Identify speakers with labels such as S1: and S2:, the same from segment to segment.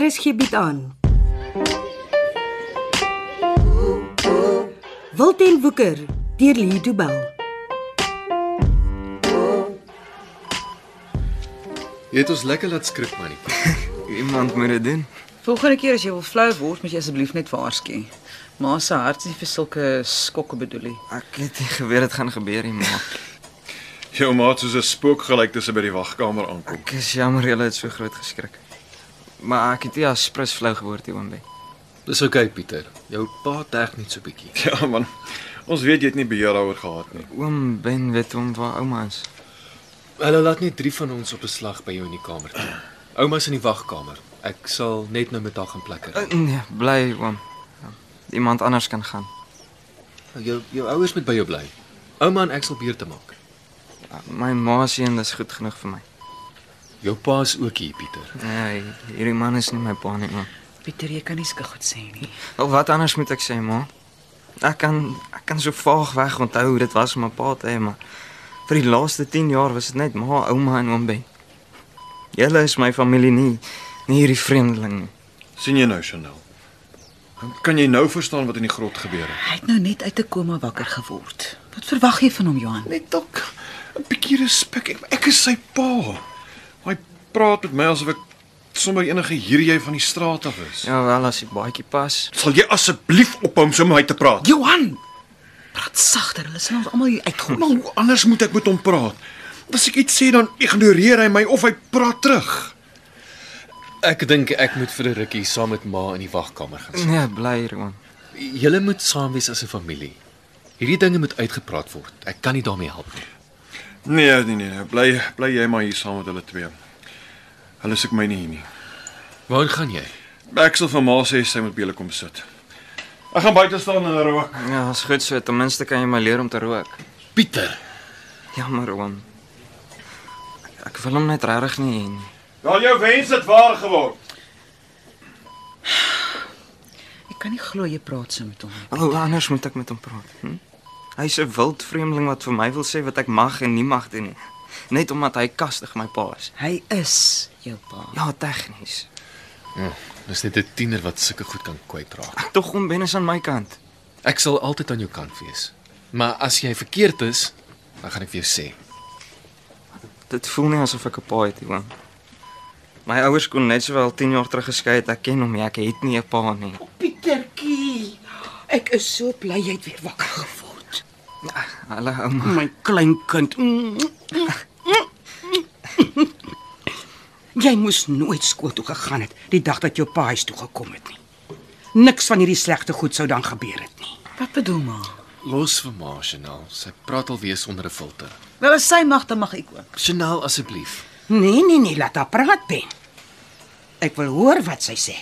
S1: RSG bied Er aan. Wilten Woeker deur Lee Du Bell.
S2: Jy het ons lekker laat skrik mannetjie.
S3: Iemand moet dit doen.
S4: Volgende keer as jy wil flou word, moet jy asseblief net waarsku. Ma se hart is nie vir sulke skokke bedoel nie.
S3: Ek het nie geweet dit gaan gebeur nie, maar
S2: Jou maat soos 'n spook gelyk tussen by die wagkamer aankom.
S3: ek is jammer jy het so groot geskrik. Maar ek het nie as prins flou geword hier oombe.
S5: Dis oukei, okay, Pieter. Jou pa terg net so bietjie.
S2: Ja man. Ons weet jy het nie beheer daaroor gehad nie.
S3: Oom Ben weet hom waar ouma is.
S5: Hulle laat net drie van ons op 'n slag by jou in die kamer toe. Ouma's in die wagkamer. Ek sal net nou met haar gaan
S3: Uh,
S5: plekker.
S3: nee, bly oom. Ja, Iemand anders kan gaan.
S5: Oh, Jou jou ouers moet by jou bly. Ouma en ek sal beurte maak.
S3: Uh, My ma se een is goed genoeg vir my.
S5: Jou pa is ook hier, Pieter.
S3: Nee, hierdie man is nie my pa nie, oom.
S4: Pieter, jy kan nie sulke goed sê nie.
S3: Wel Oh, wat anders moet ek sê, ma? Ek kan ek kan so vaag weg onthou hoe dit was om 'n pa te hê, maar vir die laaste 10 jaar was dit net ma, ouma en oom Ben. Julle is my familie nie, nie hierdie vreemdeling nie.
S2: sien jy nou Chanel? Kan jy nou verstaan wat in die grot gebeur het?
S4: Hy het nou net uit 'n koma wakker geword. Wat verwag jy van hom, Johan?
S2: Net dalk 'n bietjie respek. Ek, ek is sy pa. Hy praat met my asof ek sommer enige hierjie van die straat af is.
S3: Ja wel, as die baadjie pas.
S2: Sal jy asseblief ophou so met my te praat?
S4: Johan, praat sagter. Hulle sal ons almal hier uitgooi.
S2: Maar hoe Nou, anders moet ek met hom praat? As ek iets sê dan ignoreer hy my of hy praat terug.
S5: Ek dink ek moet vir 'n rukkie saam met ma in die wagkamer gaan sit.
S3: Nee, bly hier, oom.
S5: Julle moet saam wees as 'n familie. Hierdie dinge moet uitgepraat word. Ek kan nie daarmee help nie.
S2: Nee, nee nee, nee. bly bly jy maar hier saam met hulle twee. Hulle soek my nie hier nie.
S5: Waar gaan jy?
S2: Ek sal vir ma sê sy moet by julle kom sit. Ek gaan buite staan en rook.
S3: Ja, is goed so. Ten minste kan jy my leer om te rook.
S5: Pieter,
S3: Jammer, oom. Ek wil hom net regtig nie hê nie.
S2: Wel jou wens het waar geword.
S4: Ek kan nie glo jy praat so met hom.
S3: Hoe Oh, anders moet ek met hom praat? Hm? Hy's 'n wild vreemdeling wat vir my wil sê wat ek mag en nie mag doen nie. Net omdat hy kastig my pa is.
S4: Hy is jou pa.
S3: Ja, tegnies.
S5: Ja, dis net 'n tiener wat sulke goed kan kwytraak.
S3: Tog om Ben is aan my kant.
S5: Ek sal altyd aan jou kant wees. Maar as jy verkeerd is, dan gaan ek vir jou sê.
S3: Dit voel nie asof ek 'n pa het nie, oom. My ouers kon net sowel 10 jaar terug geskei het. Ek ken hom nie. Ek het nie 'n pa nie.
S6: Pietertjie, ek is so bly jy het weer wakker geword.
S3: Hulle ouma.
S6: My klein kind. Mm, Jy moes nooit skool toe gegaan het die dag dat jou pa huis toe gekom het nie. Niks van hierdie slegte goed sou dan gebeur het nie.
S4: Wat bedoel ma?
S5: Los vir Ma, Chanel. Sy praat alweer sonder 'n filter.
S4: Nou as sy mag, dan mag ek ook.
S5: Chanel asseblief.
S6: Nee, nee, nee, laat haar praat, Ben. Ek wil hoor wat sy sê.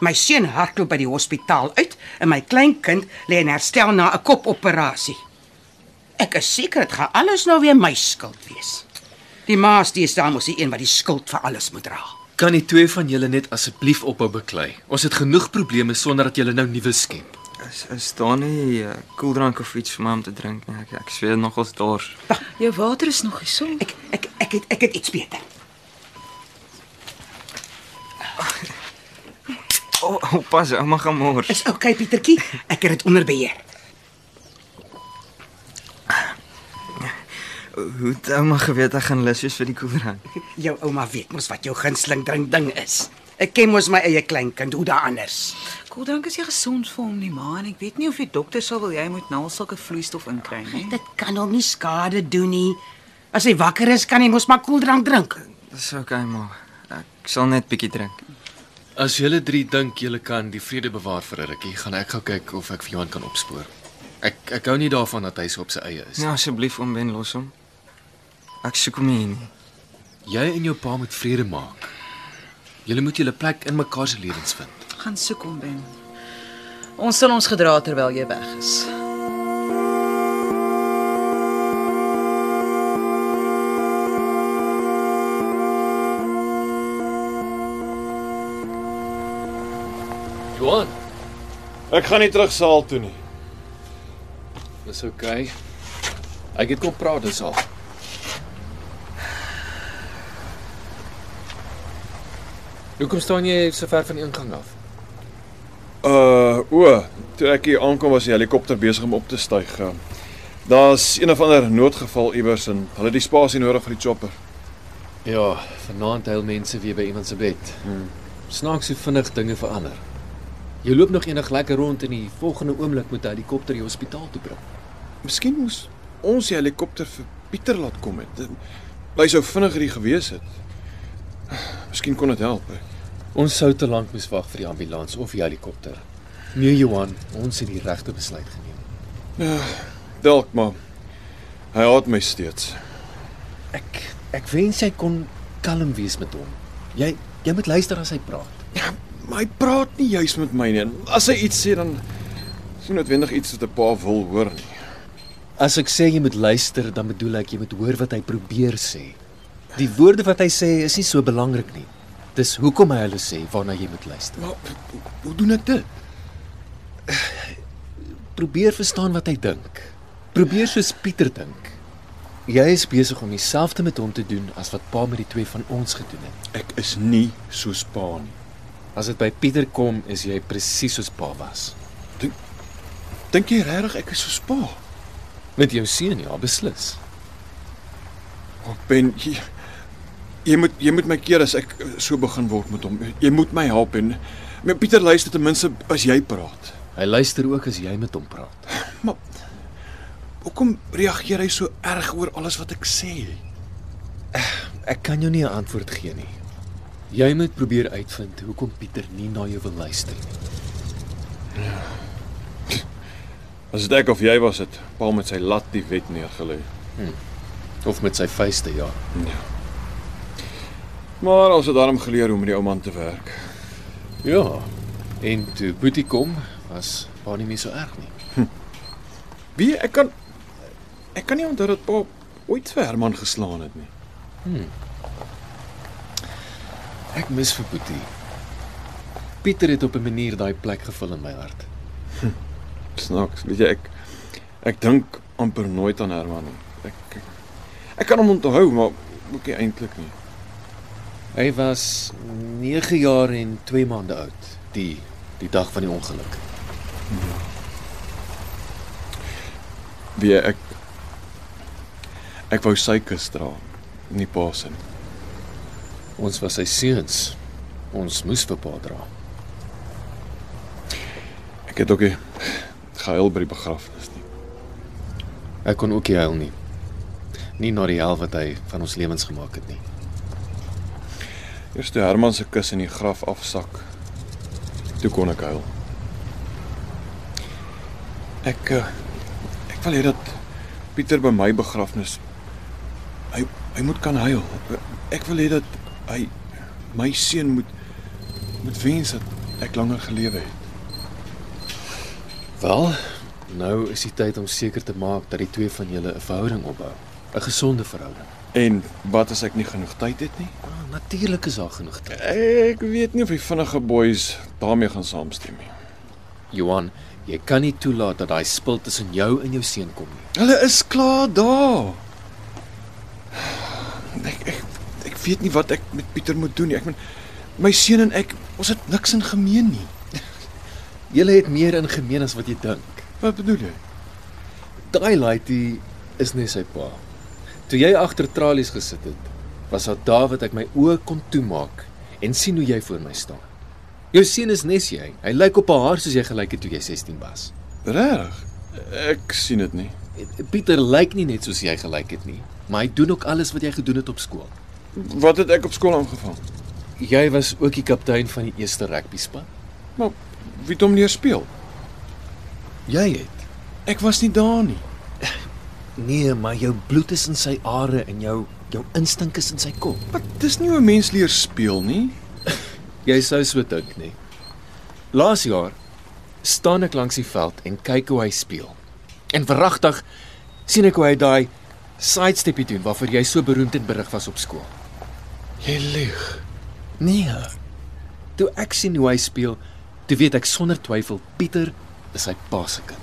S6: My seun hardloop by die hospitaal uit en my kleinkind lê in herstel na 'n kopoperasie. Ek is seker dit gaan alles nou weer my skuld wees. Die maas die is daar mos die een wat die skuld vir alles moet dra.
S5: Kan die twee van julle net asseblief ophou beklei? Ons het genoeg probleme sonder dat julle nou nuwe skep.
S3: Is is daar nie 'n uh, koeldrank of iets vir my om te drink nie. Ek ek sweer nogals dors.
S4: Jou water is nog gesond.
S6: Ek ek ek het ek het iets beter.
S3: O, oh, oh, pas, ouma gaan mors.
S6: Is oukei, okay, Pietertjie. Ek het dit onder beheer.
S3: Hoe het ouma geweet ek gaan lus wees vir die koeldrank?
S6: Jou ouma weet mos wat jou gunsteling drink ding is. Ek ken mos my eie kleinkind, hoe da anders.
S4: Koeldrank is nie gesond vir hom nie, ma, en ek weet nie of die dokter sal wil jy moet nou sulke vloeistof inkry nie.
S6: Dit kan hom nie skade doen nie. As hy wakker is, kan hy mos maar koeldrank drink.
S3: Dis okay, ma. Ek sal net bietjie drink.
S5: As julle drie dink julle kan die vrede bewaar vir 'n rukkie, gaan ek gou kyk of ek vir Johan kan opspoor. Ek ek hou nie daarvan dat hy so op sy eie is.
S3: Ja, asseblief oom Ben, los hom. Ek soek hom hier nie.
S5: Jy en jou pa moet vrede maak. Julle moet julle plek in mekaar se lewens vind.
S4: Gaan soek hom, Ben. Ons sal ons gedra terwyl jy weg is.
S5: Johan,
S2: Ek gaan nie terug saal toe nie.
S5: dis oukei. Okay. Ek het kom praat dis al. Hoekom staan jy so ver van die ingang af?
S2: Uh o, toe ek hier aankom was die helikopter besig om op te styg. Uh, Daar's een of ander noodgeval iewers en hulle het die spasie nodig vir die chopper.
S5: Ja, vanaand huil mense weer by iemand se bed. Hmm. Snaaks hoe vinnig dinge verander. Jy loop nog enig lekker rond en die volgende oomblik moet 'n helikopter jou hospitaal toe bring.
S2: Miskien moes ons die helikopter vir Pieter laat kom het. Hy sou vinniger hier gewees het. Miskien kon dit help.
S5: Ons sou te lank moes wag vir die ambulans of die helikopter. Nee Johan, ons het die regte besluit geneem.
S2: Dalk maar hy haat my steeds.
S5: Ek ek wens jy kon kalm wees met hom. Jy jy moet luister as hy praat.
S2: Ja, maar hy praat nie juis met my nie. En As hy iets sê dan is nie noodwendig iets wat 'n pa wil hoor nie.
S5: As ek sê jy moet luister, dan bedoel ek jy moet hoor wat hy probeer sê. Die woorde wat hy sê is nie so belangrik nie. Dis hoekom hy hulle sê waarna jy moet luister.
S2: Maar hoe doen ek dit?
S5: Probeer verstaan wat hy dink. Probeer soos Pieter dink. Jy is besig om dieselfde met hom te doen as wat pa met die twee van ons gedoen het.
S2: Ek is nie soos pa nie.
S5: As dit by Pieter kom, is jy presies soos pa was.
S2: Dink jy regtig ek is soos pa?
S5: Met jou seun ja, beslis.
S2: Ek ben jy, jy moet jy moet my keer as ek eh, so begin word met hom. Jy moet my help en maar Pieter luister ten minste as jy praat.
S5: Hy luister ook as jy met hom praat.
S2: Maar hoekom reageer hy so erg oor alles wat ek sê?
S5: Ek kan jou nie 'n antwoord gee nie. Jy moet probeer uitvind hoekom Pieter nie na jou wil luister nie.
S2: As dit ek of jy was dit, pa met sy lat die wet neergelê.
S5: Of met sy vuiste ja.
S2: Maar ons het daarom geleer hoe om met die ou man te werk.
S5: Ja. En toe Boetie kom, was pa nie meer so erg nie.
S2: Wie ek kan ek kan nie onthou dat pa ooit vir Herman geslaan het nie.
S5: Ek mis vir Boetie. Pieter het op 'n manier daai plek gevul in my hart.
S2: Snaaks, weet jy ek ek dink amper nooit aan Herman nie. Ek ek, ek kan hom onthou, maar ook nie eintlik nie.
S5: Hy was 9 jaar en 2 maande oud, die die dag van die ongeluk.
S2: Wie ek ek wou sy kus dra, nie pa se nie.
S5: Ons was sy seuns. Ons moes vir pa dra.
S2: Ek het ook nie gehuil by die begrafnis nie.
S5: Ek kon ook nie huil nie. Nie na die hel wat hy van ons lewens gemaak het nie.
S2: Eers toe Herman se kus in die graf afsak, toe kon ek huil. Ek eh, ek wil hê dat Pieter by my begrafnis hy hy moet kan huil. Ek wil hê dat hy my seun moet moet wens dat ek langer gelewe het.
S5: Wel, nou is die tyd om seker te maak dat die twee van julle 'n verhouding opbou, 'n gesonde verhouding.
S2: En wat as ek nie genoeg tyd het nie?
S5: Ah, Natuurlik is daar genoeg tyd.
S2: Ek weet nie of die vinnige boeis daarmee gaan saamstem nie.
S5: Johan, jy kan nie toelaat dat daai spil tussen jou en jou seun kom nie.
S2: Hulle is klaar daar. Ek ek ek weet nie wat ek met Pieter moet doen nie. Ek meen my seun en ek, ons het niks in gemeen nie.
S5: Julle het meer in gemeen as wat jy dink.
S2: Wat bedoel jy?
S5: Daai laaitie is nie sy pa. Toe jy agter tralies gesit het, was daar daar wat ek my oë kon toemaak en sien hoe jy voor my staan. Jou seun is nes jy. Hy lyk op haar soos jy gelyk het toe jy 16 was.
S2: Regtig? Ek sien dit nie.
S5: Pieter lyk nie net soos jy gelyk het nie, maar hy doen ook alles wat jy gedoen het op skool.
S2: Wat het ek op skool aangevang?
S5: Jy was ook die kaptein van die eerste rugby span.
S2: Maar wie het hom leer speel?
S5: Jy het.
S2: Ek was nie daar nie.
S5: Nee, maar jou bloed is in sy are en jou jou instink is in sy kop.
S2: Maar dis nie hoe 'n mens leer speel nie.
S5: Jy sou so dink, nê. Laas jaar staan ek langs die veld en kyk hoe hy speel. En verragtig sien ek hoe hy daai sidesteppie doen waarvoor jy so beroemd en berig was op skool.
S2: Jy lieg.
S5: Nee. Toe ek sien hoe hy speel, toe weet ek sonder twyfel Pieter is sy pa se kind.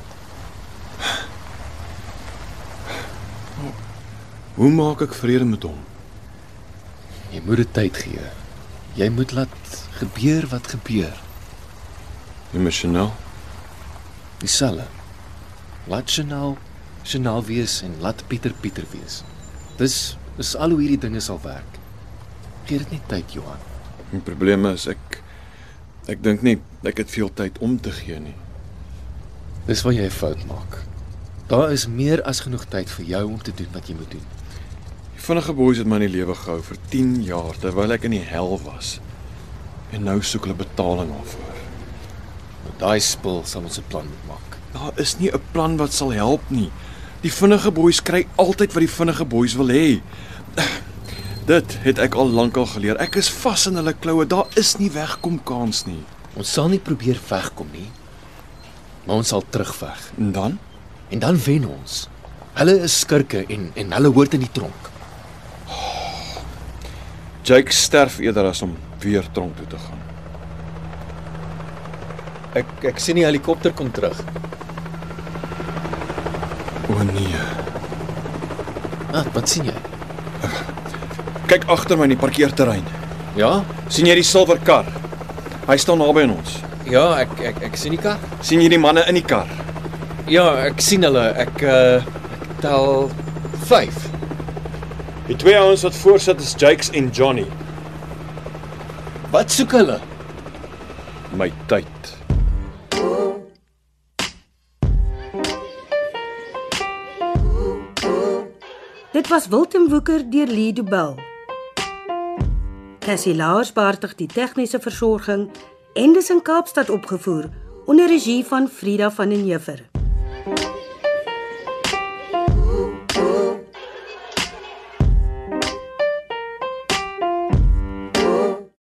S2: Hoe maak ek vrede met hom?
S5: Jy moet dit tyd gee. Jy moet laat gebeur wat gebeur.
S2: Emosioneel.
S5: Dieselfde. Laat Chanel Chanel wees en laat Pieter Pieter wees. Dis is al hoe hierdie dinge sal werk. Gee dit net tyd, Johan.
S2: Die probleem is ek ek dink nie ek het veel tyd om te gee nie.
S5: Dis waar jy 'n fout maak. Daar is meer as genoeg tyd vir jou om te doen wat jy moet doen.
S2: Die vinnige boeis het my in die lewe gehou vir 10 jaar terwyl ek in die hel was. En nou soek hulle betaling daarvoor.
S5: Met daai spul sal ons 'n plan moet maak.
S2: Daar is nie 'n plan wat sal help nie. Die vinnige boeis kry altyd wat die vinnige boeis wil hê. Dit het ek al lank al geleer. Ek is vas in hulle kloue. Daar is nie wegkom kans nie.
S5: Ons sal nie probeer wegkom nie. Maar ons sal terugveg
S2: En dan?
S5: en dan wen ons. Hulle is skurke en en hulle hoort in die tronk.
S2: Jake sterf eerder as om weer tronk toe te gaan.
S5: Ek ek sien die helikopter kom terug.
S2: O nee.
S5: Ah, wat sien jy?
S2: Kyk agter my in die parkeerterrein.
S5: Ja?
S2: sien jy die silwer kar? Hy staan naby aan ons.
S5: Ja, ek ek ek sien die kar.
S2: sien jy die manne in die kar?
S5: Ja, ek sien hulle. Ek uh ek tel 5.
S2: Die twee ouens wat voor sit is Jakes en Johnny.
S5: Wat soek hulle?
S2: My tyd.
S1: Dit was Wilten Woeker deur Lee Du Bell. Cassie Lars beheerdig die tegniese versorging en dis in Kaapstad opgevoer onder regie van Frida van den Heever.